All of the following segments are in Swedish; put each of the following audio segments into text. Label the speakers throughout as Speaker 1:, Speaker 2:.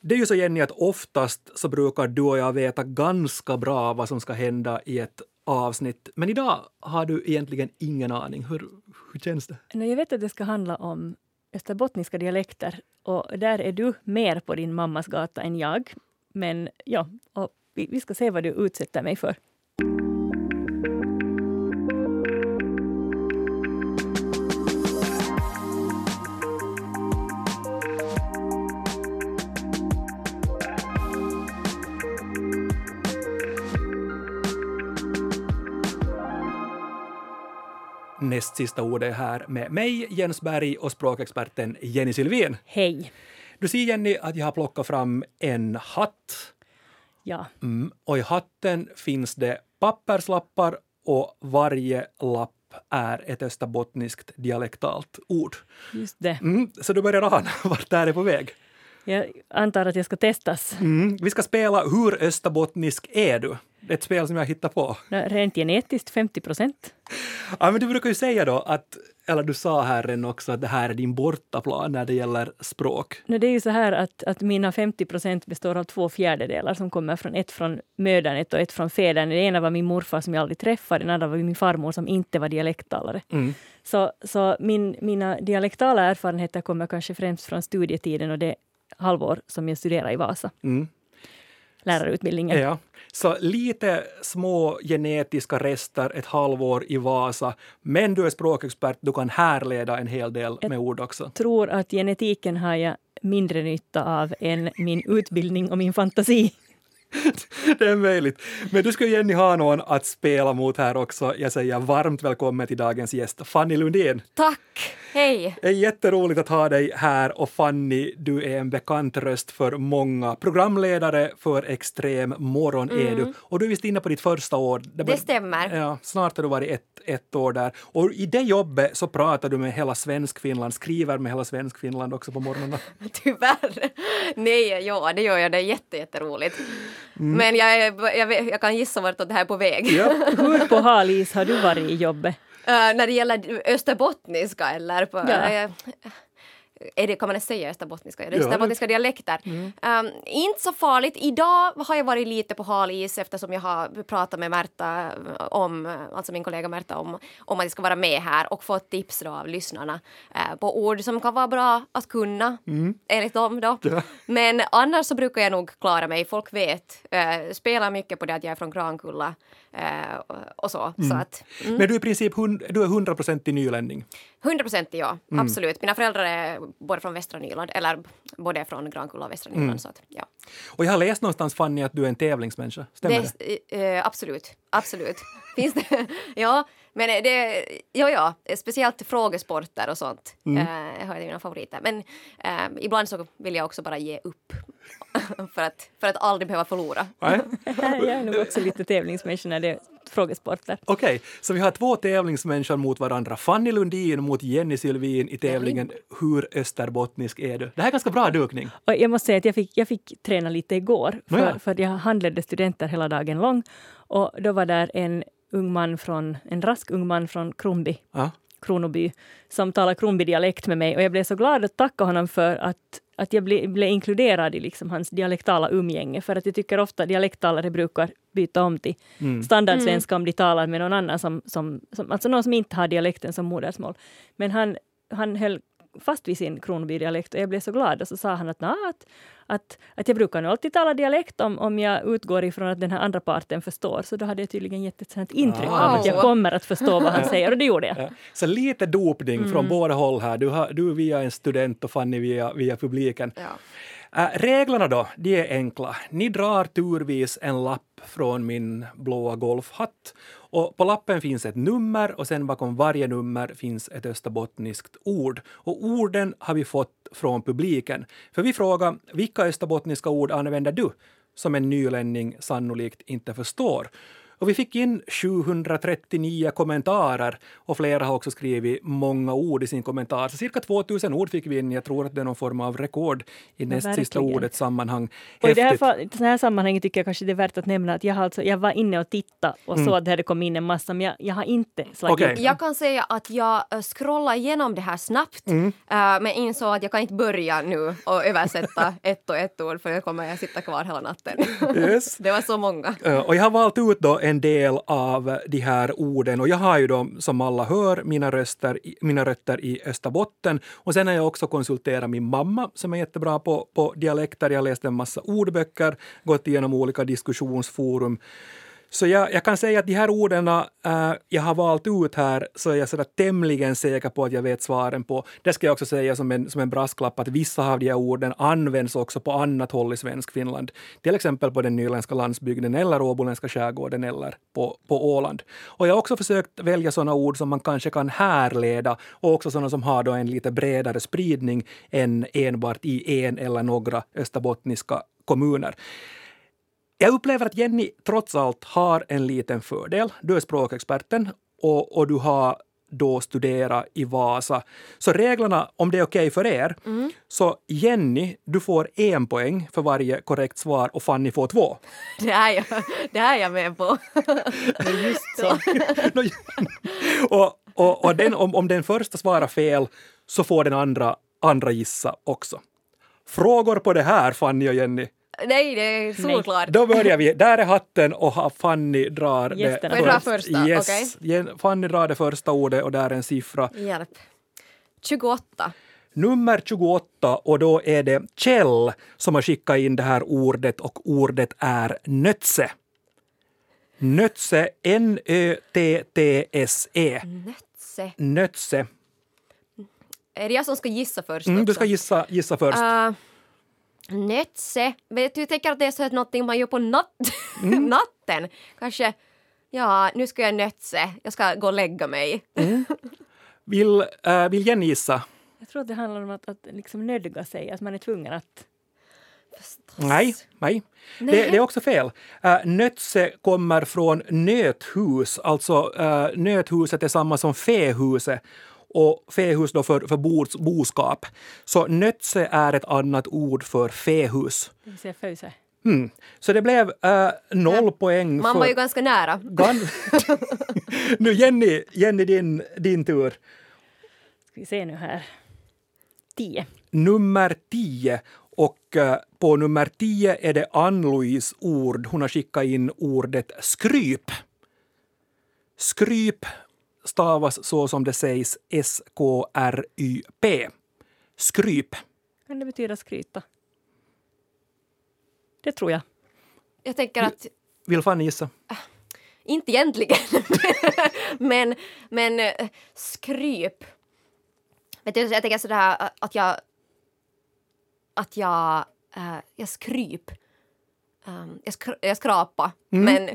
Speaker 1: Det är ju så Jenny att oftast så brukar du och jag veta ganska bra vad som ska hända i ett avsnitt. Men idag har du egentligen ingen aning. Hur, hur känns det?
Speaker 2: No, jag vet att det ska handla om österbottniska dialekter och där är du mer på din mammas gata än jag. Men ja, och vi, vi ska se vad du utsätter mig för.
Speaker 1: Näst sista ordet är här med mig, Jens Berg och språkexperten Jenny Silvin.
Speaker 2: Hej!
Speaker 1: Du ser Jenny att jag har plockat fram en hatt.
Speaker 2: Ja,
Speaker 1: Mm. Och i hatten finns det papperslappar och varje lapp är ett österbottniskt dialektalt ord.
Speaker 2: just det.
Speaker 1: Mm, så du börjar ana vart det här är på väg.
Speaker 2: Jag antar att jag ska testas.
Speaker 1: Mm, vi ska spela Hur österbottnisk är du? Det är ett spel som jag hittar på.
Speaker 2: Nå, Rent genetiskt 50 procent.
Speaker 1: Ja, men du brukar ju säga då att, eller du sa här redan också att det här är din bortaplan när det gäller språk.
Speaker 2: Det är ju så här att, att mina 50 procent består av två fjärdedelar som kommer från ett från mödernet och ett från fädernet. Den ena var min morfar som jag aldrig träffade, den andra var min farmor som inte var dialekttalare.
Speaker 1: Mm.
Speaker 2: Så, så min, mina dialektala erfarenheter kommer kanske främst från studietiden och det halvår som jag studerade i Vasa,
Speaker 1: Mm.
Speaker 2: lärarutbildningen.
Speaker 1: Ja. Så lite små genetiska rester ett halvår i Vasa, men du är språkexpert, du kan härleda en hel del med ord också.
Speaker 2: tror att genetiken har jag mindre nytta av än min utbildning och min fantasi.
Speaker 1: Det är möjligt. Men du ska ju Jenny ha någon att spela mot här också. Jag säger varmt välkommen till dagens gäst, Fanny Lundin.
Speaker 3: Tack! Hej!
Speaker 1: Det är jätteroligt att ha dig här och Fanny, du är en bekant röst för många. Programledare för Extrem morgon är du. Och du är visst inne på ditt första år.
Speaker 3: Det stämmer.
Speaker 1: Ja, snart har du varit ett, ett år där. Och i det jobbet så pratar du med hela Svenskfinland, skriver med hela Svenskfinland också på morgnarna.
Speaker 3: Tyvärr. Nej, ja, det gör jag. Det är jätte, jätteroligt. Men jag, är- jag, vet- jag kan gissa vart det här är på väg.
Speaker 2: Hur på hal is har du varit i jobbet?
Speaker 3: Eh, när det gäller österbottniska eller på,
Speaker 2: Ja.
Speaker 3: eh, är det, kan man säga österbottniska? Är det
Speaker 1: Ja, Mm.
Speaker 3: österbottniska dialekter? Eh, inte så farligt. Idag har jag varit lite på hal is eftersom jag har pratat med Märta om, alltså min kollega Märta om, om att jag ska vara med här och fått tips då av lyssnarna eh, på ord som kan vara bra att kunna enligt dem då.
Speaker 1: Mm. Ja.
Speaker 3: Men annars så brukar jag nog klara mig. Folk vet, eh, spelar mycket på det att jag är från Grankulla eh, och- och så. så
Speaker 1: Mm.
Speaker 3: att,
Speaker 1: Men du är i princip hund, du är 100 procent nylänning.
Speaker 3: 100 procent ja,
Speaker 1: Mm.
Speaker 3: absolut. Mina föräldrar är både från Västra Nyland, eller både från Grankulla och
Speaker 1: Mm.
Speaker 3: Västra Nyland. Så att, ja.
Speaker 1: Och jag har läst någonstans Fanny att du är en tävlingsmänniska. Stämmer det?
Speaker 3: det, eh, absolut, absolut. Finns det? ja, men eh, det, ja, ja, speciellt frågesporter och sånt
Speaker 1: Mm.
Speaker 3: eh, hör till mina favoriter. Men eh, ibland så vill jag också bara ge upp för, att, för att aldrig behöva förlora.
Speaker 1: Nej?
Speaker 2: Jag är nog också lite tävlingsmänniska när det är frågesporter.
Speaker 1: Okej, så vi har två tävlingsmänniskor mot varandra. Fanny Lundin mot Jenny Sylvin i tävlingen Hur österbottnisk är du? Det här är ganska bra dukning.
Speaker 2: Och jag måste säga att jag fick, jag fick träna lite igår, för,
Speaker 1: Nåja.
Speaker 2: för jag handledde studenter hela dagen lång. Och då var där en ung man från, en rask ung man från Krumbi
Speaker 1: Ja.
Speaker 2: Kronoby som talar Kronby-dialekt med mig och jag blev så glad att tacka honom för att, att jag blev, blev inkluderad i liksom hans dialektala umgänge för att jag tycker ofta dialekttalare brukar byta om till standardsvenska om de talar med någon annan som, som, som, alltså någon som inte har dialekten som modersmål. Men han, han höll fast vid sin Kronoby-dialekt och jag blev så glad och så sa han att, "Nå, att, att, att jag brukar nog alltid tala dialekt om, om jag utgår ifrån att den här andra parten förstår så då hade jag tydligen gett ett sånt intryck av att jag
Speaker 3: Wow.
Speaker 2: kommer att förstå vad han säger och det gjorde jag.
Speaker 1: Ja. Så lite dopning från båda håll här. Du, har, du via en student och Fanny via, via publiken.
Speaker 3: Ja.
Speaker 1: Äh, reglerna då, de är enkla. Ni drar turvis en lapp från min blåa golfhatt. Och på lappen finns ett nummer och sen bakom varje nummer finns ett österbottniskt ord. Och orden har vi fått från publiken. För vi frågar vilka österbottniska ord använder du som en nylänning sannolikt inte förstår? Och vi fick in 739 kommentarer och flera har också skrivit många ord i sin kommentar. Så cirka 2000 ord fick vi in. Jag tror att det är någon form av rekord i näst sista
Speaker 2: verkligen.
Speaker 1: ordets sammanhang.
Speaker 2: Och i det här,
Speaker 1: Häftigt.
Speaker 2: fall, i det här sammanhanget tycker jag kanske det är värt att nämna att jag, har alltså, jag var inne och tittade och såg att det hade kommit in en massa, men jag, jag har inte slagit
Speaker 1: Mm. Okej.
Speaker 2: upp
Speaker 3: Jag kan säga att jag eh, scrollade igenom det här snabbt
Speaker 1: Mm.
Speaker 3: eh, men insåg att jag kan inte börja nu och översätta ett och ett ord för då kommer jag sitta kvar hela natten.
Speaker 1: Yes.
Speaker 3: det var så många.
Speaker 1: Eh, Och jag har valt ut då en del av de här orden och jag har ju då som alla hör mina, röster, i- mina rötter i Österbotten och sen har jag också konsulterat min mamma som är jättebra på, på dialekter. Jag har läst en massa ordböcker, gått igenom olika diskussionsforum. Så jag, jag kan säga att de här orden eh, jag har valt ut här så är jag sådär tämligen säker på att jag vet svaren på. Det ska jag också säga som en, som en brasklapp att vissa av de här orden används också på annat håll i svensk Finland. Till exempel på den nyländska landsbygden eller åboländska skärgården eller på, på Åland. Och jag har också försökt välja sådana ord som man kanske kan härleda och också sådana som har då en lite bredare spridning än enbart i en eller några österbottniska kommuner. Jag upplever att Jenny trots allt har en liten fördel. Du är språkexperten och, och du har då studerat i Vasa. Så reglerna, om det är okej för er, så Jenny, du får en poäng för varje korrekt svar och Fanny får två.
Speaker 3: Det är jag, det är jag med på.
Speaker 1: Just så. Nå, och och, och den, om, om den första svarar fel så får den andra, andra gissa också. Frågor på det här, Fanny och Jenny?
Speaker 3: Nej, det är solklart.
Speaker 1: Då börjar vi. Där är hatten och ha- Fanny drar
Speaker 2: Gästerna.
Speaker 1: det
Speaker 2: Får jag
Speaker 3: dra första?
Speaker 1: Yes.
Speaker 3: Okej.
Speaker 1: Gen- Fanny drar det första ordet och där är en siffra.
Speaker 3: Hjälp. 28.
Speaker 1: Nummer 28 och då är det Kjell som har skickat in det här ordet och ordet är nötse. Nötse, N-Ö-T-T-S-E.
Speaker 3: Nötse.
Speaker 1: E. Nötse.
Speaker 3: Är det jag som ska gissa först?
Speaker 1: Mm, du
Speaker 3: också?
Speaker 1: ska gissa, gissa först.
Speaker 3: Uh, nötse. Vet du, jag tänker att det är så att någonting man gör på natt
Speaker 1: Mm.
Speaker 3: natten. Kanske, ja, nu ska jag nötse. Jag ska gå och lägga mig.
Speaker 1: Vill, eh, vill Jenny gissa?
Speaker 2: Jag tror att det handlar om att, att liksom nödga sig, att man är tvungen att...
Speaker 1: Nej, nej.
Speaker 3: Nej.
Speaker 1: Det, det är också fel. Uh, nötse kommer från nöthus, alltså eh, nöthuset är samma som fähuset och fähus då för, för bords, boskap. Så nötse är ett annat ord för fähus.
Speaker 2: Det vill säga föse.
Speaker 1: Mm. Så det blev eh, noll poäng.
Speaker 3: Man
Speaker 1: för
Speaker 3: var ju ganska nära.
Speaker 1: gan- nu Jenny, Jenny din, din tur.
Speaker 2: Ska vi se nu här. 10.
Speaker 1: nummer 10. Och eh, på nummer 10 är det Ann-Louise ord. Hon har skickat in ordet skryp. Skryp stavas så som det sägs S-K-R-Y-P. Skryp.
Speaker 2: Kan det betyda skryta? Det tror jag.
Speaker 3: Jag tänker att,
Speaker 1: Vill Fanny gissa?
Speaker 3: inte egentligen, men, men eh, skryp. Vet du, jag tänker sådär eh, att jag... Att jag... eh, jag skryp. Um, jag, skr- jag skrapa, men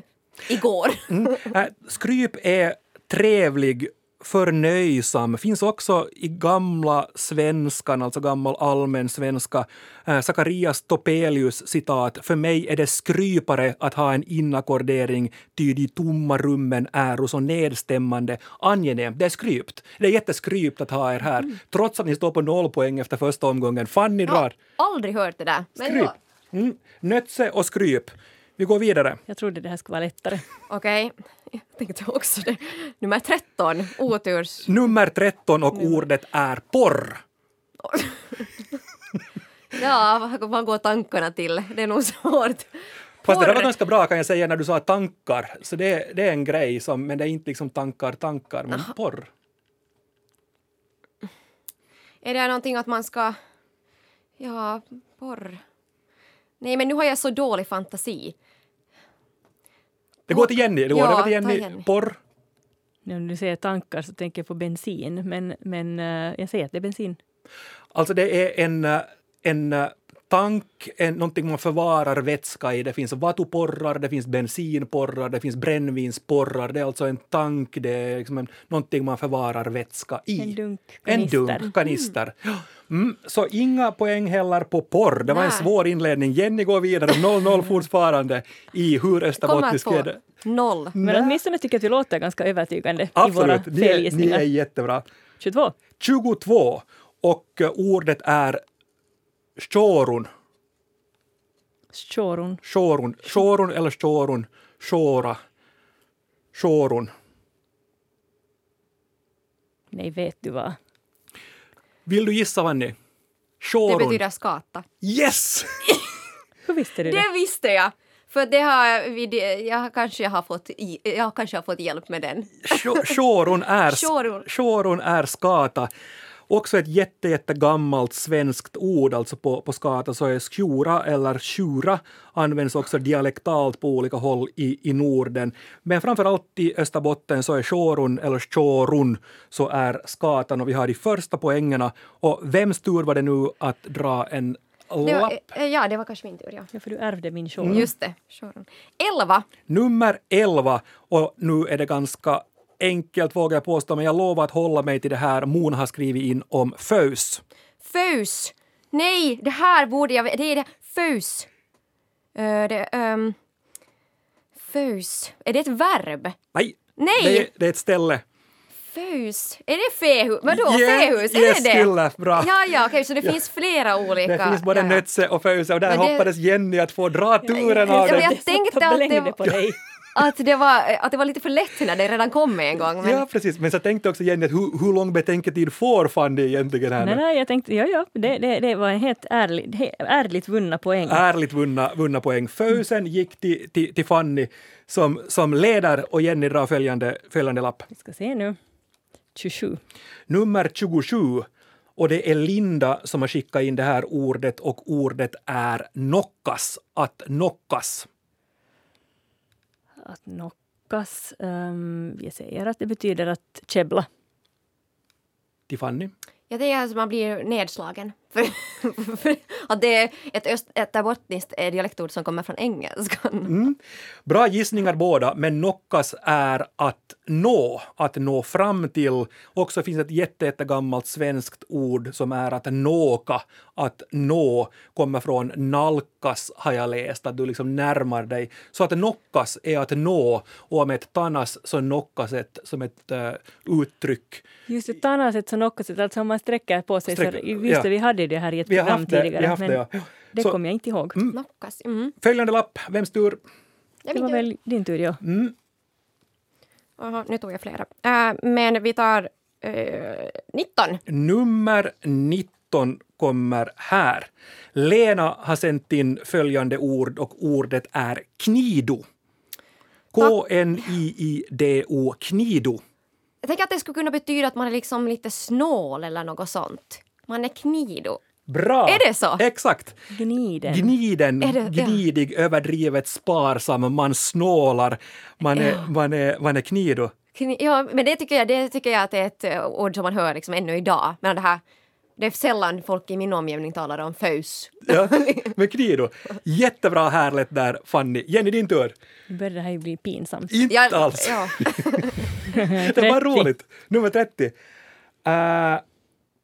Speaker 3: igår.
Speaker 1: Mm. Äh, Skryp är trevlig, förnöjsam. Finns också i gamla svenskan, alltså gammal allmän svenska. Äh, Sakarias Topelius citat. För mig är det skrypare att ha en inackordering ty de tomma rummen är så nedstämmande angenämt. Det är skrypt. Det är jätteskrypt att ha er här. Trots att ni står på noll poäng efter första omgången. Fanny drar.
Speaker 3: Aldrig hört det där. Men
Speaker 1: Skryp.
Speaker 3: ja,
Speaker 1: Mm. Nötse och skryp. Vi går vidare.
Speaker 2: Jag trodde det här skulle vara lättare.
Speaker 3: Okej. Jag tänkte också det. Nummer 13, oturs...
Speaker 1: Nummer 13 och ordet är porr.
Speaker 3: Ja, vad- vad går tankarna till? Det är nog svårt.
Speaker 1: Fast det där var
Speaker 3: Porr.
Speaker 1: ganska bra kan jag säga när du sa tankar. Så det, det är en grej, som, men det är inte liksom tankar, tankar, men porr.
Speaker 3: Är det någonting att man ska... Ja, porr. Nej, men nu har jag så dålig fantasi.
Speaker 1: Det går till Jenny. Det går
Speaker 3: Ja,
Speaker 1: över till
Speaker 3: ta
Speaker 1: Jenny.
Speaker 3: Jenny.
Speaker 1: Porr.
Speaker 2: När du säger tankar så tänker jag på bensin, men, men eh, jag säger att det är bensin.
Speaker 1: Alltså det är en, eh, en eh, tank är någonting man förvarar vätska i. Det finns vatuporrar, det finns bensinporrar, det finns brännvinsporrar. Det är alltså en tank, det är liksom en, någonting man förvarar vätska i.
Speaker 2: En dunk
Speaker 1: En
Speaker 2: kanister.
Speaker 1: dunk kanister. Mm, så inga poäng heller på porr. Det var en
Speaker 3: Nej.
Speaker 1: svår inledning. Jenny går vidare, 0-0 fortfarande i hur
Speaker 3: Kommer
Speaker 1: österbottnisk är
Speaker 3: på
Speaker 1: det.
Speaker 3: noll.
Speaker 2: Men
Speaker 1: Nä.
Speaker 2: åtminstone tycker jag att vi låter ganska övertygande i våra
Speaker 1: Absolut, ni är, ni
Speaker 2: felgissningar.
Speaker 1: är jättebra.
Speaker 2: 22.
Speaker 1: 22 och eh, ordet är shorun.
Speaker 2: Tjorun.
Speaker 1: Shorun, shorun eller shorun, shora, shorun.
Speaker 2: Nej, vet du vad?
Speaker 1: Vill du gissa Vanni?
Speaker 3: Det
Speaker 1: Shorun.
Speaker 3: betyder skata.
Speaker 1: Yes!
Speaker 2: Hur visste du det?
Speaker 3: Det visste jag! För det har vi, det, jag, kanske har fått, i- jag kanske har fått hjälp med den.
Speaker 1: Sho- Shorun är,
Speaker 3: Shorun.
Speaker 1: shorun är skata. Också ett jätte, jättegammalt svenskt ord, alltså på, på skata så är skjura eller tjura används också dialektalt på olika håll i, i Norden. Men framför allt i Österbotten så är shorun eller shorun så är skatan och vi har de första poängerna. Och vems tur var det nu att dra en
Speaker 3: Det
Speaker 1: lapp?
Speaker 3: var, eh, ja, det var kanske min tur. Ja.
Speaker 2: Ja, för du ärvde min tjorun.
Speaker 3: Just det. Shoron. Elva.
Speaker 1: Nummer 11, och nu är det ganska enkelt vågar jag påstå, men jag lovar att hålla mig till det här Moon har skrivit in om fös.
Speaker 3: Fus. Nej, det här borde jag... Det är det. Fus. Eh, det, ehm, fus. Är det ett verb?
Speaker 1: Nej!
Speaker 3: Nej!
Speaker 1: Det är, det är ett ställe.
Speaker 3: Fus. Är det fehus? Vadå
Speaker 1: Yeah,
Speaker 3: fehus? Är
Speaker 1: yes,
Speaker 3: det det?
Speaker 1: kille, bra.
Speaker 3: Ja, ja, okej, så det finns flera olika.
Speaker 1: Det finns både
Speaker 3: ja, ja.
Speaker 1: nötse och föse och där
Speaker 3: Men det-
Speaker 1: hoppades Jenny att få dra turen av
Speaker 3: Ja, men
Speaker 1: det.
Speaker 3: jag tänkte att det
Speaker 2: blängde på
Speaker 3: var,
Speaker 2: dig.
Speaker 3: att, det var, att det var lite för lätt när det redan kom med en gång. Men
Speaker 1: Ja, precis. Men så tänkte också Jenny att hur, hur lång betänketid får Fanny egentligen här
Speaker 2: Nej,
Speaker 1: nu?
Speaker 2: nej, jag tänkte, ja, ja, det, det, det var en helt ärlig, he- ärligt vunna poäng.
Speaker 1: Ärligt vunna, vunna poäng. Fösen gick till, till, till Fanny som, som leder och Jenny drar följande, följande lapp.
Speaker 2: Vi ska se nu. 27.
Speaker 1: nummer 27. Och det är Linda som har skickat in det här ordet och ordet är knockas, att knockas.
Speaker 2: Att knockas. Um, jag säger att det betyder att käbbla.
Speaker 1: Tiffany?
Speaker 3: jag tänker att man blir nedslagen. För, för att det är ett öst- ett österbottniskt eh, dialektord som kommer från engelskan.
Speaker 1: Mm. Bra gissningar båda, men knockas är att nå, att nå fram till. Också finns ett jätte, jättegammalt svenskt ord som är att nåka, att nå, kommer från nalkas har jag läst, att du liksom närmar dig. Så att knockas är att nå och med ett tanas så knockas ett, som ett eh, uttryck.
Speaker 2: Just ett annat sätt som knockas, alltså om man sträcker på sig.
Speaker 1: Sträcker,
Speaker 2: så, just det,
Speaker 1: ja.
Speaker 2: vi hade det här i ett
Speaker 1: Vi har
Speaker 2: program
Speaker 1: haft det,
Speaker 2: tidigare.
Speaker 1: vi har haft
Speaker 2: men
Speaker 1: det, ja.
Speaker 2: det
Speaker 1: Så-
Speaker 2: kommer jag inte ihåg.
Speaker 3: Knockas. Mm.
Speaker 1: Följande lapp, vems tur?
Speaker 2: Det
Speaker 3: Ja, men
Speaker 2: var
Speaker 3: du-
Speaker 2: väl din tur, ja.
Speaker 1: Mm.
Speaker 3: Jaha, nu tog jag flera. Eh, men vi tar eh, 19.
Speaker 1: Nummer 19 kommer här. Lena har sänt in följande ord och ordet är knido. K-N-I-I-D-O, knido.
Speaker 3: Jag tänker att det skulle kunna betyda att man är liksom lite snål eller något sånt. Man är knido.
Speaker 1: Bra!
Speaker 3: Är det så?
Speaker 1: Exakt.
Speaker 2: Gniden.
Speaker 1: Gniden,
Speaker 3: Är det- ja.
Speaker 1: gnidig, överdrivet sparsam, man snålar, man är, man är, man är knido.
Speaker 3: Kni- Ja, men det tycker jag, det tycker jag att det är ett eh, ord som man hör liksom ännu idag. Men det här, det är sällan folk i min omgivning talar om fös.
Speaker 1: Ja, men knido. Jättebra härligt där, Fanny. Jenny, din tur.
Speaker 2: Nu börjar det här ju bli pinsamt.
Speaker 1: Inte
Speaker 3: Jag-
Speaker 1: alls.
Speaker 3: Ja.
Speaker 1: Det var
Speaker 2: 30.
Speaker 1: roligt. Nummer 30. Eh,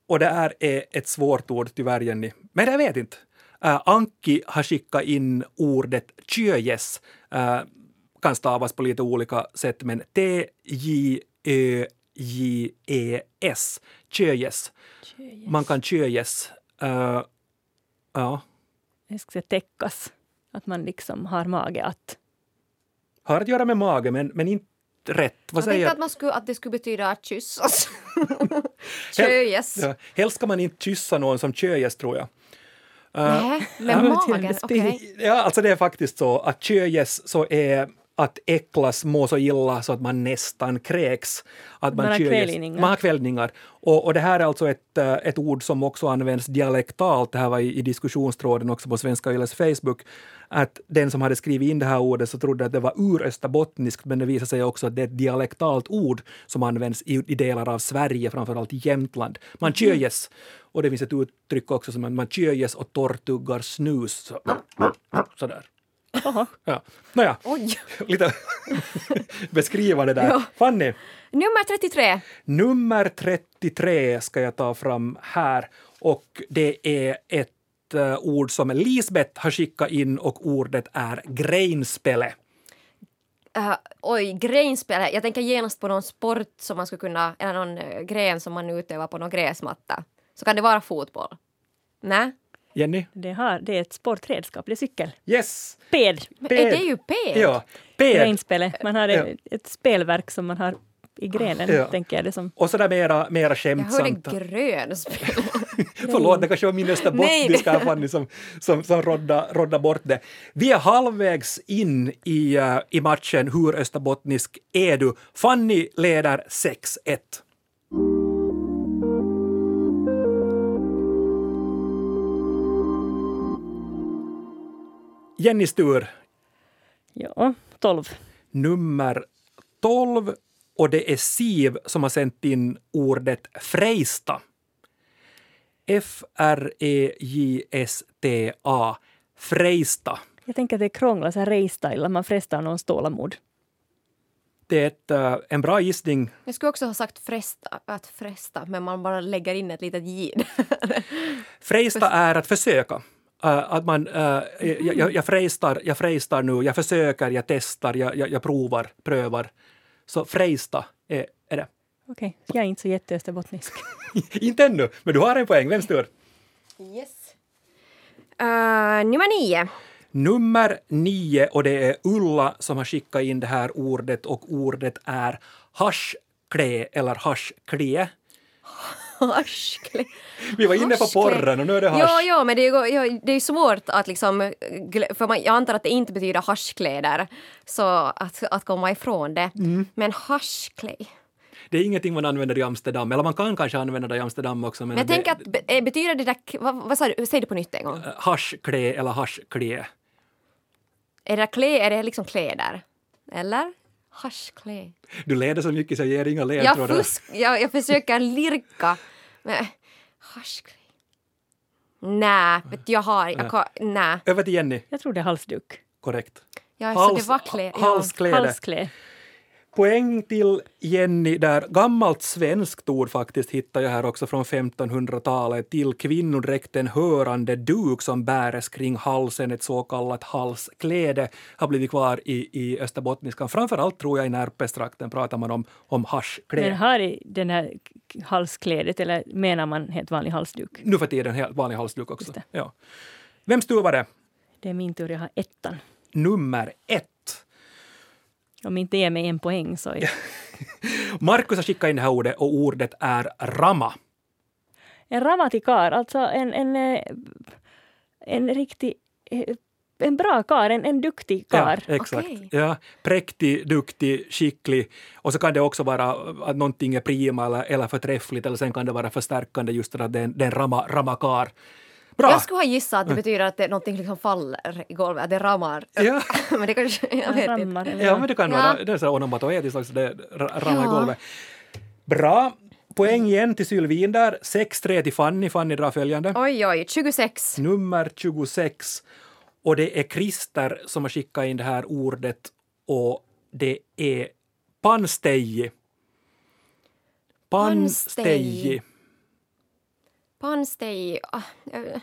Speaker 1: och det här är ett svårt ord tyvärr, Jenny. Men jag vet inte. Eh, Anki har skickat in ordet tjöjes. Eh, kan stavas på lite olika sätt, men T-J-Ö-J-E-S. Tjöjes. E Man kan tjöjes. Eh, ja.
Speaker 2: Jag ska säga täckas. Att man liksom har mage att...
Speaker 1: Har att göra med mage, men, men inte rätt. Vad
Speaker 3: Jag tänkte
Speaker 1: säger
Speaker 3: att, man skulle, att det skulle betyda att kyssas. Tjöjes.
Speaker 1: Ja, helst ska man inte kyssa någon som tjöjes, tror jag. Äh,
Speaker 3: Nej,
Speaker 1: Ja,
Speaker 3: med
Speaker 1: men
Speaker 3: magen.
Speaker 2: kändes
Speaker 3: Eh, Okej.
Speaker 1: Ja, alltså det är faktiskt så att tjöjes så är att äcklas, må så illa så att man nästan kräks. Att
Speaker 2: Man har
Speaker 1: kylges.
Speaker 2: kvällningar.
Speaker 1: Man har kvällningar. Och, och det här är alltså ett, eh, ett ord som också används dialektalt. Det här var i, i diskussionstråden också på Svenska Yles Facebook. Att den som hade skrivit in det här ordet så trodde att det var urösterbottniskt men det visade sig också att det är ett dialektalt ord som används i, i delar av Sverige, framförallt i Jämtland. Man
Speaker 2: Mm-hmm.
Speaker 1: köjes. Och det finns ett uttryck också som att man köjes och torrtuggar snus. Så, sådär.
Speaker 2: Jaha.
Speaker 1: Ja. Nåja,
Speaker 3: Oj!
Speaker 1: lite beskriva det där.
Speaker 3: Ja.
Speaker 1: Fanny,
Speaker 3: Nummer 33.
Speaker 1: nummer 33 ska jag ta fram här och det är ett eh, ord som Lisbeth har skickat in och ordet är greinspele.
Speaker 3: Eh, oj, greinspel. Jag tänker genast på någon sport som man skulle kunna, eller någon eh, gren som man utövar på någon gräsmatta. Så kan det vara fotboll? Nej?
Speaker 1: Jenny?
Speaker 2: Det, här, det är ett sportredskap, det är cykel.
Speaker 1: Yes!
Speaker 2: Ped!
Speaker 3: Men
Speaker 1: Ped.
Speaker 3: är det ju ped?
Speaker 1: Ja, ped.
Speaker 2: Grainspelet. Man har ett, ett spelverk som man har i grenen,
Speaker 1: Ja.
Speaker 2: tänker jag det som.
Speaker 1: Och sådär mera, mera
Speaker 3: Jag hörde
Speaker 1: skämtsamt.
Speaker 3: grönspel.
Speaker 1: Förlåt, det kanske var min österbottniska här Fanny som, liksom- som, som rodda, rodda bort det. Vi är halvvägs in i, eh, i matchen Hur österbottnisk är du? Fanny leder 6-1. Jennys tur,
Speaker 2: Ja, 12.
Speaker 1: nummer 12 och det är Siv som har sänt in ordet Frejsta. E F-R-E-J-S-T-A. Frejsta.
Speaker 2: Jag tänker att det är krångla, så här race-style, man frestar någons tålamod.
Speaker 1: Det är ett, eh, en bra gissning.
Speaker 3: Jag skulle också ha sagt fresta, att fresta, men man bara lägger in ett litet j.
Speaker 1: Frejsta är att försöka. Eh, att man, eh, jag, jag, jag, frejstar, jag frejstar nu, jag försöker, jag testar, jag, jag, jag provar, prövar. Så frejsta är, är det.
Speaker 2: Okej, jag är inte så jätteösterbottnisk.
Speaker 1: Inte ännu, men du har en poäng. Vems tur?
Speaker 3: yes. Eh, nummer nio.
Speaker 1: Nummer nio och det är Ulla som har skickat in det här ordet och ordet är haschklä eller haschklie.
Speaker 3: Harskle.
Speaker 1: Vi var inne på
Speaker 3: Haschklä.
Speaker 1: porren och nu är det hasch.
Speaker 3: Ja, ja, men det är, ju- ja, det är ju svårt att liksom... glö- För man, jag antar att det inte betyder haschkläder. Så att, att komma ifrån det.
Speaker 1: Mm.
Speaker 3: Men haschklä.
Speaker 1: Det är ingenting man använder i Amsterdam, eller man kan kanske använda det i Amsterdam också. Men
Speaker 3: Men jag
Speaker 1: det,
Speaker 3: tänker att be- eh, betyder det där... k- Vad, vad sa du? Säg det på nytt en gång.
Speaker 1: eh, Haschklä eller haschklie.
Speaker 3: Är det klä, är det liksom kläder? Eller? Haschklä.
Speaker 1: Du leder så mycket så jag ger inga
Speaker 3: Jag,
Speaker 1: ledtrådar.
Speaker 3: fusk, jag, jag försöker lirka. Men, eh, haschklä. Nej, vet du, jag har... Jag, kan- nej.
Speaker 1: Över till Jenny.
Speaker 2: Jag tror det är halsduk.
Speaker 1: Korrekt.
Speaker 3: Ja, så det
Speaker 1: Hals,
Speaker 3: var klä.
Speaker 1: ha-
Speaker 3: Ja.
Speaker 1: halskläde.
Speaker 2: Halsklä.
Speaker 1: Poäng till Jenny där. Gammalt svenskt ord faktiskt hittar jag här också från 1500-talet. Till kvinnodräkten hörande duk som bäres kring halsen, ett så kallat halskläde, har blivit kvar i, i österbottniskan. Framförallt tror jag i Närpestrakten pratar man om, om
Speaker 2: Men
Speaker 1: haschkläde.
Speaker 2: har i den här k- halsklädet, eller menar man helt vanlig halsduk?
Speaker 1: Nu för tiden helt vanlig halsduk också.
Speaker 2: Just det.
Speaker 1: Ja. Vems tur var det?
Speaker 2: Det är min tur, jag har ettan.
Speaker 1: Nummer ett.
Speaker 2: Om inte ger mig en poäng så är
Speaker 1: Markus har skickat in det här ordet och ordet är rama.
Speaker 2: En ramatikar, alltså en, en, eh, en riktig... eh, En bra kar, en, en duktig kar.
Speaker 1: Ja, exakt.
Speaker 3: Okej.
Speaker 1: Ja, präktig, duktig, skicklig. Och så kan det också vara att någonting är prima eller, eller förträffligt eller sen kan det vara förstärkande just det att den, den rama, ramakar. Bra!
Speaker 3: Jag skulle ha gissat att det betyder att det, någonting liksom faller i golvet, att det ramar.
Speaker 1: Ja,
Speaker 3: Men det kanske... Jag vet inte.
Speaker 2: Rammar, eller
Speaker 1: ja,
Speaker 2: vad?
Speaker 1: men det kan
Speaker 3: Ja.
Speaker 1: vara det är så här onomatoetiskt också, det ra- ramlar i
Speaker 3: Ja.
Speaker 1: golvet. Bra! Poäng igen till Sylvin där. 6-3 till Fanny. Fanny drar följande.
Speaker 3: Oj, oj, 26.
Speaker 1: Nummer 26. Och det är Christer som har skickat in det här ordet och det är pansteji. Pansteji.
Speaker 3: Pansteji. Pannstej... ah, eh,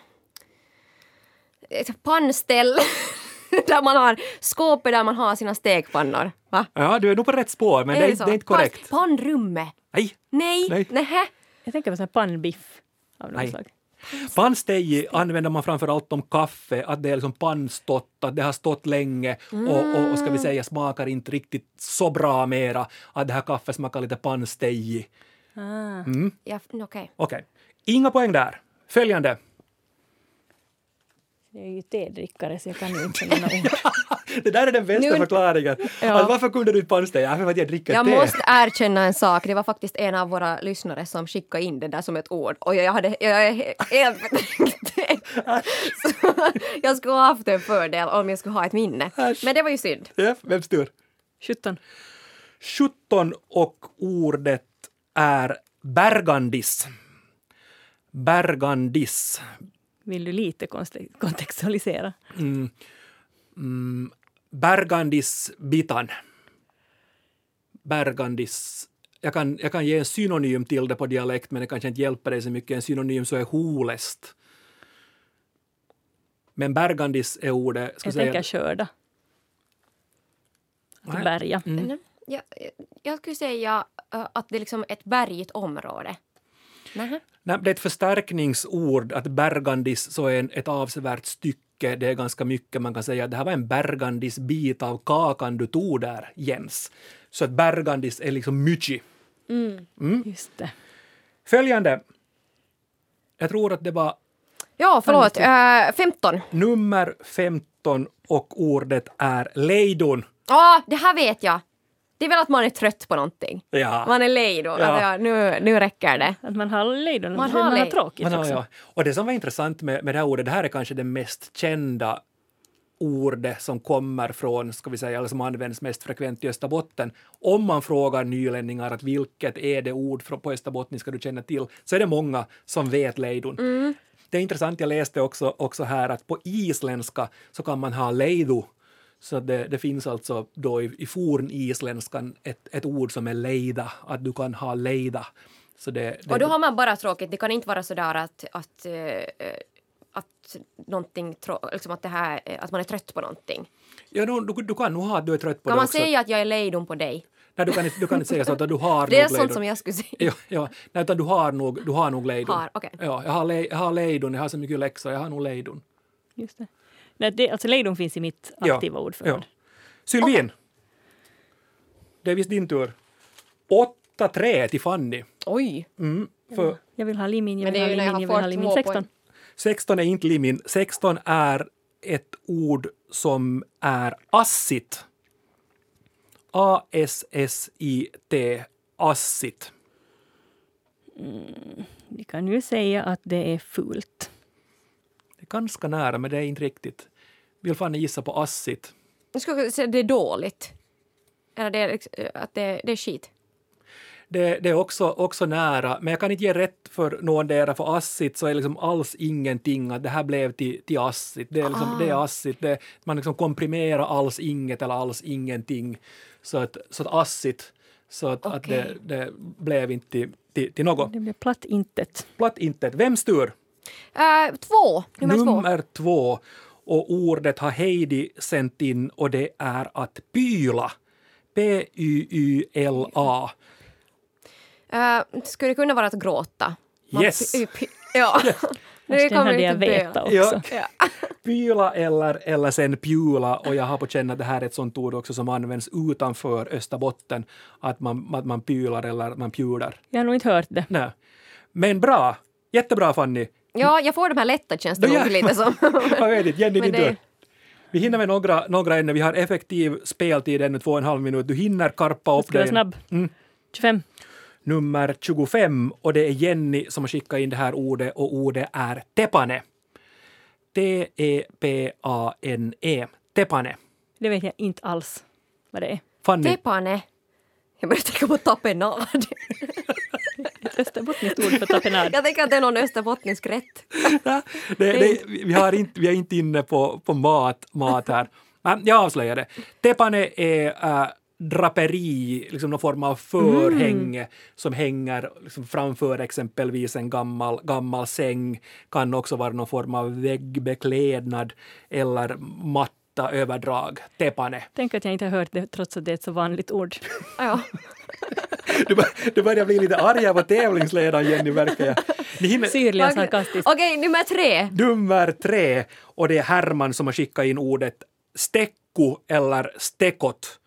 Speaker 3: ett Pannställ. där man har skåpet där man har sina stekpannor. Va?
Speaker 1: Ja, du är nog på rätt spår, men det är,
Speaker 3: så?
Speaker 1: det är inte korrekt.
Speaker 3: Pann- Pannrumme.
Speaker 1: Nej.
Speaker 3: Nej.
Speaker 1: Nej.
Speaker 3: Nej. Nähä.
Speaker 2: Jag tänker på sån här pannbiff av något
Speaker 1: Nej.
Speaker 2: slag.
Speaker 1: Pansteji använder man framför allt om kaffe, att det är liksom pannstått, att det har stått länge och, och, och ska vi säga smakar inte riktigt så bra mera, att det här kaffet smakar lite pansteji.
Speaker 2: Ah.
Speaker 1: Mm.
Speaker 3: Ja, okej.
Speaker 1: Okej, inga poäng där. Följande.
Speaker 2: Jag är ju tedrickare så jag kan ju inte mina ord.
Speaker 1: Det där är den bästa
Speaker 3: Nu-
Speaker 1: förklaringen.
Speaker 3: Ja.
Speaker 1: Alltså, varför kunde du inte pannsteja? För att jag dricker
Speaker 3: Jag
Speaker 1: te.
Speaker 3: måste erkänna en sak. Det var faktiskt en av våra lyssnare som skickade in det där som ett ord och jag hade jag är he- helt betänkt det. Så Jag skulle ha haft en fördel om jag skulle ha ett minne.
Speaker 1: Äsch.
Speaker 3: Men det var ju synd.
Speaker 1: Ja, vems tur?
Speaker 2: 17.
Speaker 1: 17 och ordet är bergandis. Bergandis.
Speaker 2: Vill du lite konste- kontextualisera?
Speaker 1: Bergandis bitan. Bergandis. Jag kan, jag kan ge en synonym till det på dialekt men det kanske inte hjälper dig så mycket. En synonym så är holest. Men bergandis är ordet. Ska
Speaker 2: Jag
Speaker 1: säga-
Speaker 2: tänker skörda. Att
Speaker 1: Nej. Mm.
Speaker 2: bärga.
Speaker 3: Men, Jag, jag skulle säga eh, att det är liksom ett bergigt område. Nähä.
Speaker 1: Nej, det är ett förstärkningsord, att bergandis så är en, ett avsevärt stycke, det är ganska mycket. Man kan säga att det här var en bergandisbit av kakan du tog där, Jens. Så att bergandis är liksom mycket. Mm.
Speaker 2: Just det.
Speaker 1: Följande. Jag tror att det var
Speaker 3: Ja, förlåt. Äh, 15.
Speaker 1: nummer 15 och ordet är lejdon.
Speaker 3: Ja, det här vet jag. Det är väl att man är trött på någonting.
Speaker 1: Ja.
Speaker 3: Man är lej då.
Speaker 1: Ja.
Speaker 3: Alltså, ja, nu, nu räcker det.
Speaker 2: Att man har lejdon.
Speaker 3: Man
Speaker 2: Man
Speaker 3: har
Speaker 2: har, man har
Speaker 3: lej-
Speaker 2: tråkigt
Speaker 1: Man har,
Speaker 2: också.
Speaker 1: ja. Och det som var intressant med, med det här ordet, det här är kanske det mest kända ordet som kommer från, ska vi säga, eller som används mest frekvent i Österbotten. Om man frågar nylänningar att vilket är det ord från- på österbottniska du känner till, så är det många som vet lejdon.
Speaker 3: Mm.
Speaker 1: Det är intressant, jag läste också, också här att på isländska så kan man ha leidu. Så det, det finns alltså då i, i fornislänskan ett, ett ord som är leida, att du kan ha leida. Så det, det,
Speaker 3: Och då har man bara tråkigt. Det kan inte vara sådär att, att, eh, eh, att någonting, trå- liksom att, det här, eh, att man är trött på någonting.
Speaker 1: Ja, du, du, du kan nog ha att du är trött på
Speaker 3: Kan
Speaker 1: det
Speaker 3: man
Speaker 1: också.
Speaker 3: säga att jag är lejdom på dig?
Speaker 1: Nej, du, kan inte, du kan inte säga så, utan du har
Speaker 3: Det är
Speaker 1: nog
Speaker 3: sånt
Speaker 1: lejdon.
Speaker 3: som jag skulle säga.
Speaker 1: Ja, ja. Nej, utan du har nog, du har nog lejdon.
Speaker 3: Har, okej.
Speaker 1: ja, jag, har le, jag har lejdon, jag har så mycket läxor, jag har nog lejdon.
Speaker 2: Just det. Nej, det, alltså lejdon finns i mitt
Speaker 1: Ja,
Speaker 2: aktiva ordförråd.
Speaker 1: Ja. Sylvin! Det är visst din tur. 8-3 till Fanny.
Speaker 3: Oj!
Speaker 1: Mm, för
Speaker 2: Jag vill ha limin, jag
Speaker 3: Men
Speaker 2: vill
Speaker 3: det
Speaker 2: ha limin,
Speaker 3: är ju när
Speaker 2: jag vill
Speaker 3: jag får
Speaker 2: ha limin.
Speaker 3: två
Speaker 2: 16.
Speaker 3: poäng.
Speaker 1: 16 är inte limin, 16 är ett ord som är assit. A-S-S-I-T, assit.
Speaker 2: Vi kan ju säga att det är fult.
Speaker 1: Det är ganska nära, men det är inte riktigt. Vill fan gissa på assit?
Speaker 3: Jag skulle säga att det är dåligt. Eller det är, liksom- eh, att det, det är skit.
Speaker 1: Det, det är också, också nära, men jag kan inte ge rätt för någondera, för assit så är liksom alls ingenting att det här blev till, till assit. Det är, liksom, det är assit, det, man liksom komprimerar alls inget eller alls ingenting. Så att, så att assit, så att, att det,
Speaker 3: Okej.
Speaker 1: det blev inte till, till, till något.
Speaker 2: Det blir platt intet.
Speaker 1: Platt intet. Vems tur?
Speaker 3: Eh, två! Nummer, två.
Speaker 1: Nummer två. Och ordet har Heidi sänt in och det är att pyla. P-Y-Y-L-A.
Speaker 3: Eh, skulle det kunna vara att gråta?
Speaker 1: Yes.
Speaker 3: py- py- ja.
Speaker 2: Äsch, Den hade jag
Speaker 3: inte
Speaker 2: vetat
Speaker 3: dö.
Speaker 2: också.
Speaker 1: Ja.
Speaker 3: Ja.
Speaker 1: Pyla eller, eller sen pjula och jag har på känn att det här är ett sånt ord också som används utanför Österbotten. Att man, att man pylar eller man pjular.
Speaker 2: Jag har nog inte hört det.
Speaker 1: Nej. Men bra! Jättebra Fanny!
Speaker 3: ja, jag får de här lätta känns det
Speaker 1: Ja.
Speaker 3: nog lite som.
Speaker 1: Jag vet inte, Jenny
Speaker 3: Men
Speaker 1: din
Speaker 3: det-
Speaker 1: tur. Vi hinner med några, några ännu. Vi har effektiv speltid ännu två och en halv minut. Du hinner karpa
Speaker 2: Jag
Speaker 1: upp
Speaker 2: ska vara
Speaker 1: dig.
Speaker 2: snabb. 25.
Speaker 1: nummer 25 och det är Jenny som har skickat in det här ordet och ordet är tepane. E T-E-P-A-N-E. E. Tepane.
Speaker 2: Det vet jag inte alls vad det är.
Speaker 1: Fanny,
Speaker 3: Tepane. Jag började tänka på tapenad.
Speaker 2: Ett österbottniskt ord för tapenad.
Speaker 3: Jag tänker att det är någon österbottnisk rätt.
Speaker 1: det, det, vi, har inte, vi är inte inne på, på mat, mat här. Men jag avslöjar det. Tepane är äh, draperi, liksom någon form av förhänge som hänger liksom framför exempelvis en gammal, gammal säng. Kan också vara någon form av väggbeklädnad eller matta överdrag. Tepane.
Speaker 2: Tänk att jag inte har hört det trots att det är ett så vanligt ord.
Speaker 3: Ja.
Speaker 1: Du, bör, du börjar bli lite arga på tävlingsledaren Jenny verkar jag. Ni hinner,
Speaker 2: Syrlig och sarkastisk.
Speaker 3: Okej, nummer tre.
Speaker 1: nummer tre och det är Herman som har skickat in ordet stekku eller stekot.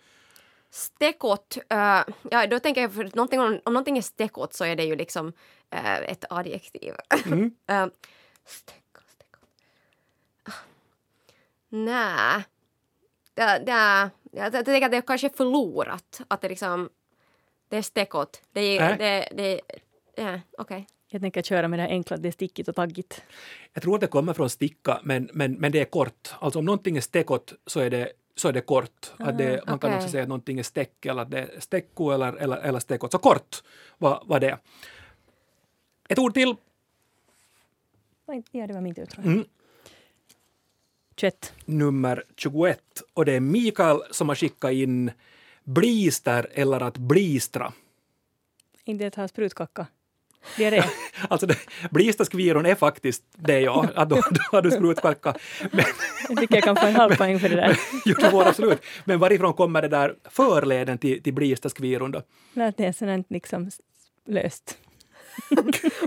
Speaker 3: Stekot. eh, ja, då tänker jag, för någonting, om, om någonting är stekot så är det ju liksom eh, ett adjektiv. Mm. stekot, stekot. Ah. Nä. det, det är, jag tänker att det är kanske är förlorat. Att det liksom, det är stekot. Det, är
Speaker 1: Äh.
Speaker 3: det, det, ja, okej.
Speaker 2: Jag tänker köra med det här enkla, det är stickigt och taggigt.
Speaker 1: Jag tror att det kommer från sticka, men, men, men det är kort. Alltså om någonting är stekot så är det, så är det kort. Att det, man kan
Speaker 3: okej.
Speaker 1: också säga att någonting är steck eller att det är stecko eller, eller, eller stekot. Så kort var, var det. Ett ord till.
Speaker 2: Oj, Ja, det var min tur tror jag.
Speaker 1: Mm.
Speaker 2: 21.
Speaker 1: nummer 21 och det är Mikael som har skickat in blister eller att blistra.
Speaker 2: Inte att ha sprutkaka. Det är det.
Speaker 1: Alltså det, blisterskviron är faktiskt det jag, att då, då har du sprutkaka. Men,
Speaker 2: Jag tycker jag kan få en halv poäng för det där.
Speaker 1: jo, det var absolut. Men varifrån kommer det där förleden till, till blisterskviron då?
Speaker 2: Men att det är sådant liksom s- löst.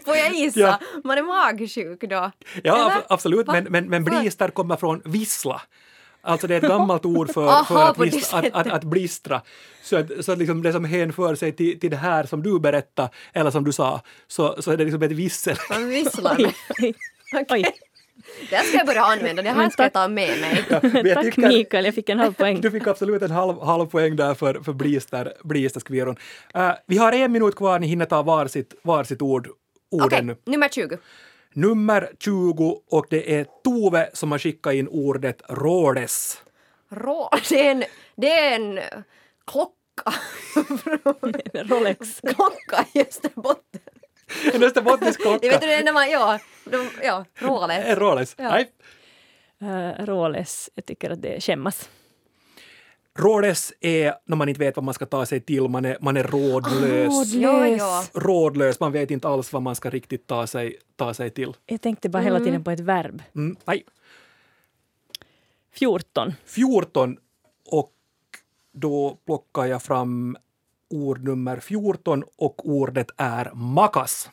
Speaker 3: Får jag gissa?
Speaker 1: Ja.
Speaker 3: Man är magsjuk då?
Speaker 1: Ja,
Speaker 3: Eller?
Speaker 1: ab- absolut,
Speaker 3: Va?
Speaker 1: men, men, men
Speaker 3: För-
Speaker 1: blister kommer från vissla. Alltså det är ett gammalt ord för,
Speaker 3: Aha,
Speaker 1: för att,
Speaker 3: på det
Speaker 1: vissla, att, att, att blistra. Så, att, så att liksom det som hänför sig till, till det här som du berättade, eller som du sa, så, så är det liksom ett vissel.
Speaker 3: Man visslar.
Speaker 2: Oj, oj, oj.
Speaker 3: Det här ska jag börja använda. Det här
Speaker 2: Men
Speaker 3: ska jag
Speaker 2: tack.
Speaker 3: ta med mig.
Speaker 1: Men jag
Speaker 2: Tack
Speaker 1: tycker-
Speaker 2: Mikael, jag fick en halv poäng.
Speaker 1: Du fick absolut en halv, halv poäng där för, för blister, blisterskviron. Eh, vi har en minut kvar, ni hinner ta varsitt, varsitt ord, ord
Speaker 3: Okej,
Speaker 1: ännu.
Speaker 3: nummer 20.
Speaker 1: Nummer 20 och det är Tove som har skickat in ordet rådes.
Speaker 3: Rå. Det är en, det är en eh, klocka.
Speaker 2: Rolex.
Speaker 3: klocka i Österbotten.
Speaker 1: En österbottnisk
Speaker 3: Det vet
Speaker 1: klocka.
Speaker 3: du, det är när man, ja, de, ja, rålet.
Speaker 1: En rådes.
Speaker 3: Ja.
Speaker 1: Nej.
Speaker 2: Uh, Roles, jag tycker att det är skämmas.
Speaker 1: Rådes är när man inte vet vad man ska ta sig till, man är, man är
Speaker 2: Ah,
Speaker 1: rådlös.
Speaker 3: Ja, ja.
Speaker 1: Rådlös, man vet inte alls vad man ska riktigt ta sig, ta sig till.
Speaker 2: Jag tänkte bara hela tiden på ett verb.
Speaker 1: Mm, nej.
Speaker 2: 14.
Speaker 1: 14 och då plockar jag fram ord nummer 14 och ordet är makas.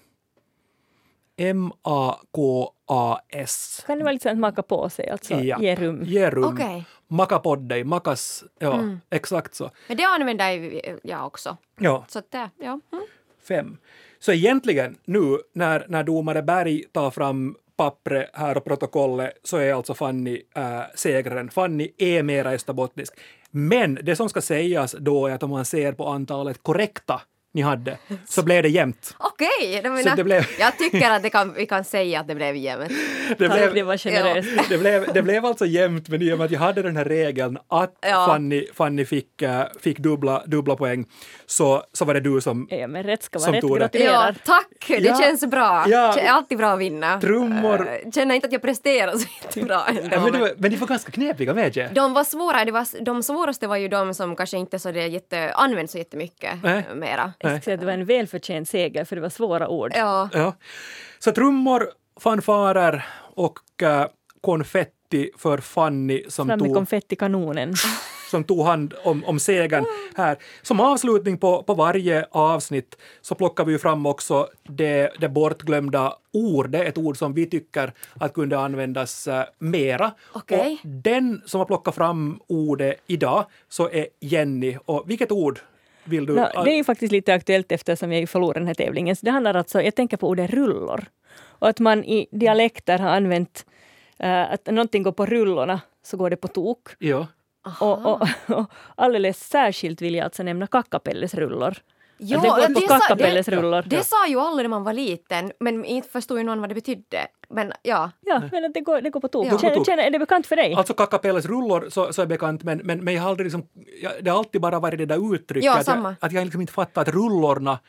Speaker 1: M-A-K-A-S.
Speaker 2: Kan det vara lite sånt maka på sig, alltså
Speaker 1: Ja.
Speaker 2: ge rum.
Speaker 1: Ge rum.
Speaker 3: Okej.
Speaker 1: Maka på dig, makas. Ja, exakt så.
Speaker 3: Men det använder ju jag också.
Speaker 1: Ja,
Speaker 3: Så att det, ja. Mm.
Speaker 1: fem. Så egentligen nu när, när domare Berg tar fram pappret här och protokollet så är alltså Fanny äh, segraren. Fanny är mera österbottnisk. Men det som ska sägas då är att om man ser på antalet korrekta ni hade så blev det jämnt.
Speaker 3: Okej, jag
Speaker 1: Så
Speaker 3: menar,
Speaker 1: det blev-
Speaker 3: jag tycker att det kan, vi kan säga att det blev jämnt.
Speaker 1: Det
Speaker 2: Tack,
Speaker 1: blev,
Speaker 2: det var generöst.
Speaker 1: det, blev, det blev alltså jämnt, men i och med att jag hade den här regeln att
Speaker 3: Ja.
Speaker 1: Fanny, Fanny fick, äh, fick dubbla, dubbla poäng så, så var det du som
Speaker 2: Ja, men rätt ska
Speaker 1: Som
Speaker 2: vara rätt.
Speaker 1: Tore.
Speaker 3: Ja,
Speaker 2: Gratulerar.
Speaker 3: tack! Det
Speaker 1: Ja.
Speaker 3: känns bra.
Speaker 1: Ja.
Speaker 3: Det är alltid bra att vinna.
Speaker 1: Trummor.
Speaker 3: Eh, Känner inte att jag presterar så jättebra ändå.
Speaker 1: Ja, men, det
Speaker 3: men-
Speaker 1: var, men ni var ganska knepiga, medge.
Speaker 3: De var svåra, det var, de svåraste var ju de som kanske inte så det jätte, används så jättemycket
Speaker 1: Nej.
Speaker 3: eh, mera.
Speaker 2: Jag ska säga att det var en välförtjänt seger, för det var svåra ord.
Speaker 3: Ja,
Speaker 1: Ja. Så trummor, fanfarer och eh, konfetti för Fanny som
Speaker 2: Fram med
Speaker 1: tog,
Speaker 2: konfettikanonen.
Speaker 1: som tog hand om, om segern här. Som avslutning på, på varje avsnitt så plockar vi ju fram också det, det bortglömda ordet, ett ord som vi tycker att kunde användas eh, mera.
Speaker 3: Okej.
Speaker 1: Och den som har plockat fram ordet idag så är Jenny. Och vilket ord vill du?
Speaker 2: Nå, det är ju faktiskt lite aktuellt eftersom jag ju förlorade den här tävlingen. Så det handlar alltså, jag tänker på ordet rullor. Och att man i dialekter har använt eh, att någonting går på rullorna så går det på tok.
Speaker 1: Ja.
Speaker 2: Och,
Speaker 3: Ah.
Speaker 2: och, och alldeles särskilt vill jag alltså nämna kackapellesrullor.
Speaker 3: Ja,
Speaker 2: det går
Speaker 3: det
Speaker 2: på
Speaker 3: sa-
Speaker 2: kackapellesrullor.
Speaker 3: det sa ju alla när man var liten, men inte förstod ju någon vad det betydde. Men ja,
Speaker 2: Ja, men att det går, det går på tok.
Speaker 3: Ja.
Speaker 1: Går på
Speaker 2: Känner,
Speaker 1: tok.
Speaker 2: känner, är det bekant för dig?
Speaker 1: Alltså Kakapelles rullor så, så är bekant, men, men, men jag har aldrig liksom, jag, det har alltid bara varit det där uttrycket.
Speaker 3: Ja,
Speaker 1: att, jag,
Speaker 3: samma.
Speaker 1: att jag liksom inte fattar att rullorna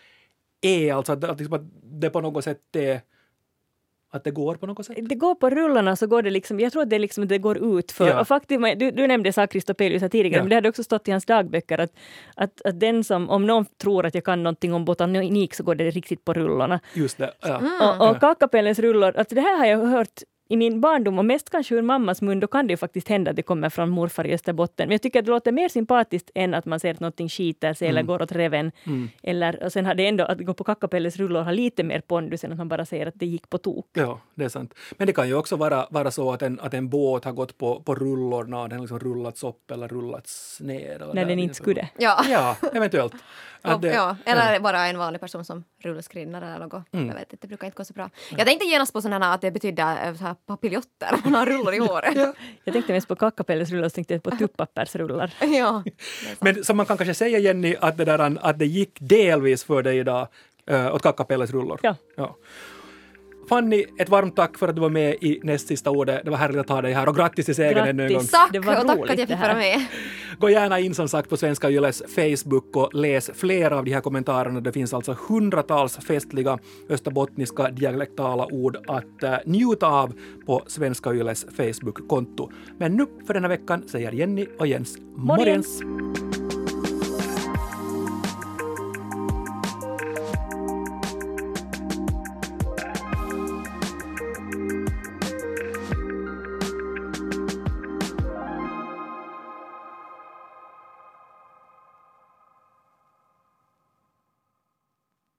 Speaker 1: är alltså, att, att, liksom, att det på något sätt är, att det går på något sätt.
Speaker 2: Det går på rullarna så går det liksom, jag tror att det, är liksom, det går ut för.
Speaker 1: Ja.
Speaker 2: Och faktiskt, men du, du nämnde Sakris Kristopelius här tidigare,
Speaker 1: Ja.
Speaker 2: men det hade också stått i hans dagböcker att, att, att den som, om någon tror att jag kan någonting om botanik så går det riktigt på rullorna.
Speaker 1: Just det. Ja.
Speaker 3: Mm.
Speaker 2: Och, och kackapellens rullor, alltså det här har jag hört i min barndom och mest kanske ur mammas mun, då kan det ju faktiskt hända att det kommer från morfar i Österbotten. Men jag tycker att det låter mer sympatiskt än att man ser att någonting skiter sig
Speaker 1: Mm.
Speaker 2: eller går åt reven. Eller, och sen har det ändå, att gå på kackapellens rullor har lite mer pondus än att man bara säger att det gick på tok.
Speaker 1: Ja, det är sant. Men det kan ju också vara, vara så att en, att en båt har gått på, på rullorna och den har liksom rullats upp eller rullats ner. Eller
Speaker 2: När
Speaker 1: där.
Speaker 2: den inte skulle.
Speaker 3: ja.
Speaker 1: Ja, eventuellt. Att det-
Speaker 3: ja, eller bara en vanlig person som rullskrinnare eller något. Jag vet inte, det brukar inte gå så bra. Jag tänkte genast på sådana här att det betyder eh, så här papiljotter, man har rullar i håret. ja.
Speaker 2: Jag tänkte mest på kackapellesrullar och så tänkte jag på tuppappersrullar.
Speaker 3: ja.
Speaker 1: Men som man kan kanske säga, Jenny, att det, där, att det gick delvis för dig idag uh, åt Kackapelles rullor.
Speaker 2: Ja.
Speaker 1: Ja. Fanny, ett varmt tack för att du var med i näst sista ordet. Det var härligt att ha dig här och grattis till segern ännu en gång.
Speaker 2: Grattis.
Speaker 3: Tack
Speaker 2: Det
Speaker 3: och
Speaker 2: var
Speaker 3: tack
Speaker 2: roligt
Speaker 3: att jag
Speaker 2: det
Speaker 3: fick
Speaker 2: här.
Speaker 3: vara med.
Speaker 1: Gå gärna in som sagt på Svenska Yles Facebook och läs flera av de här kommentarerna. Det finns alltså hundratals festliga österbottniska dialektala ord att eh, njuta av på Svenska Yles Facebook-konto. Men nu för denna veckan säger Jenny och Jens morjens!
Speaker 2: Morjens.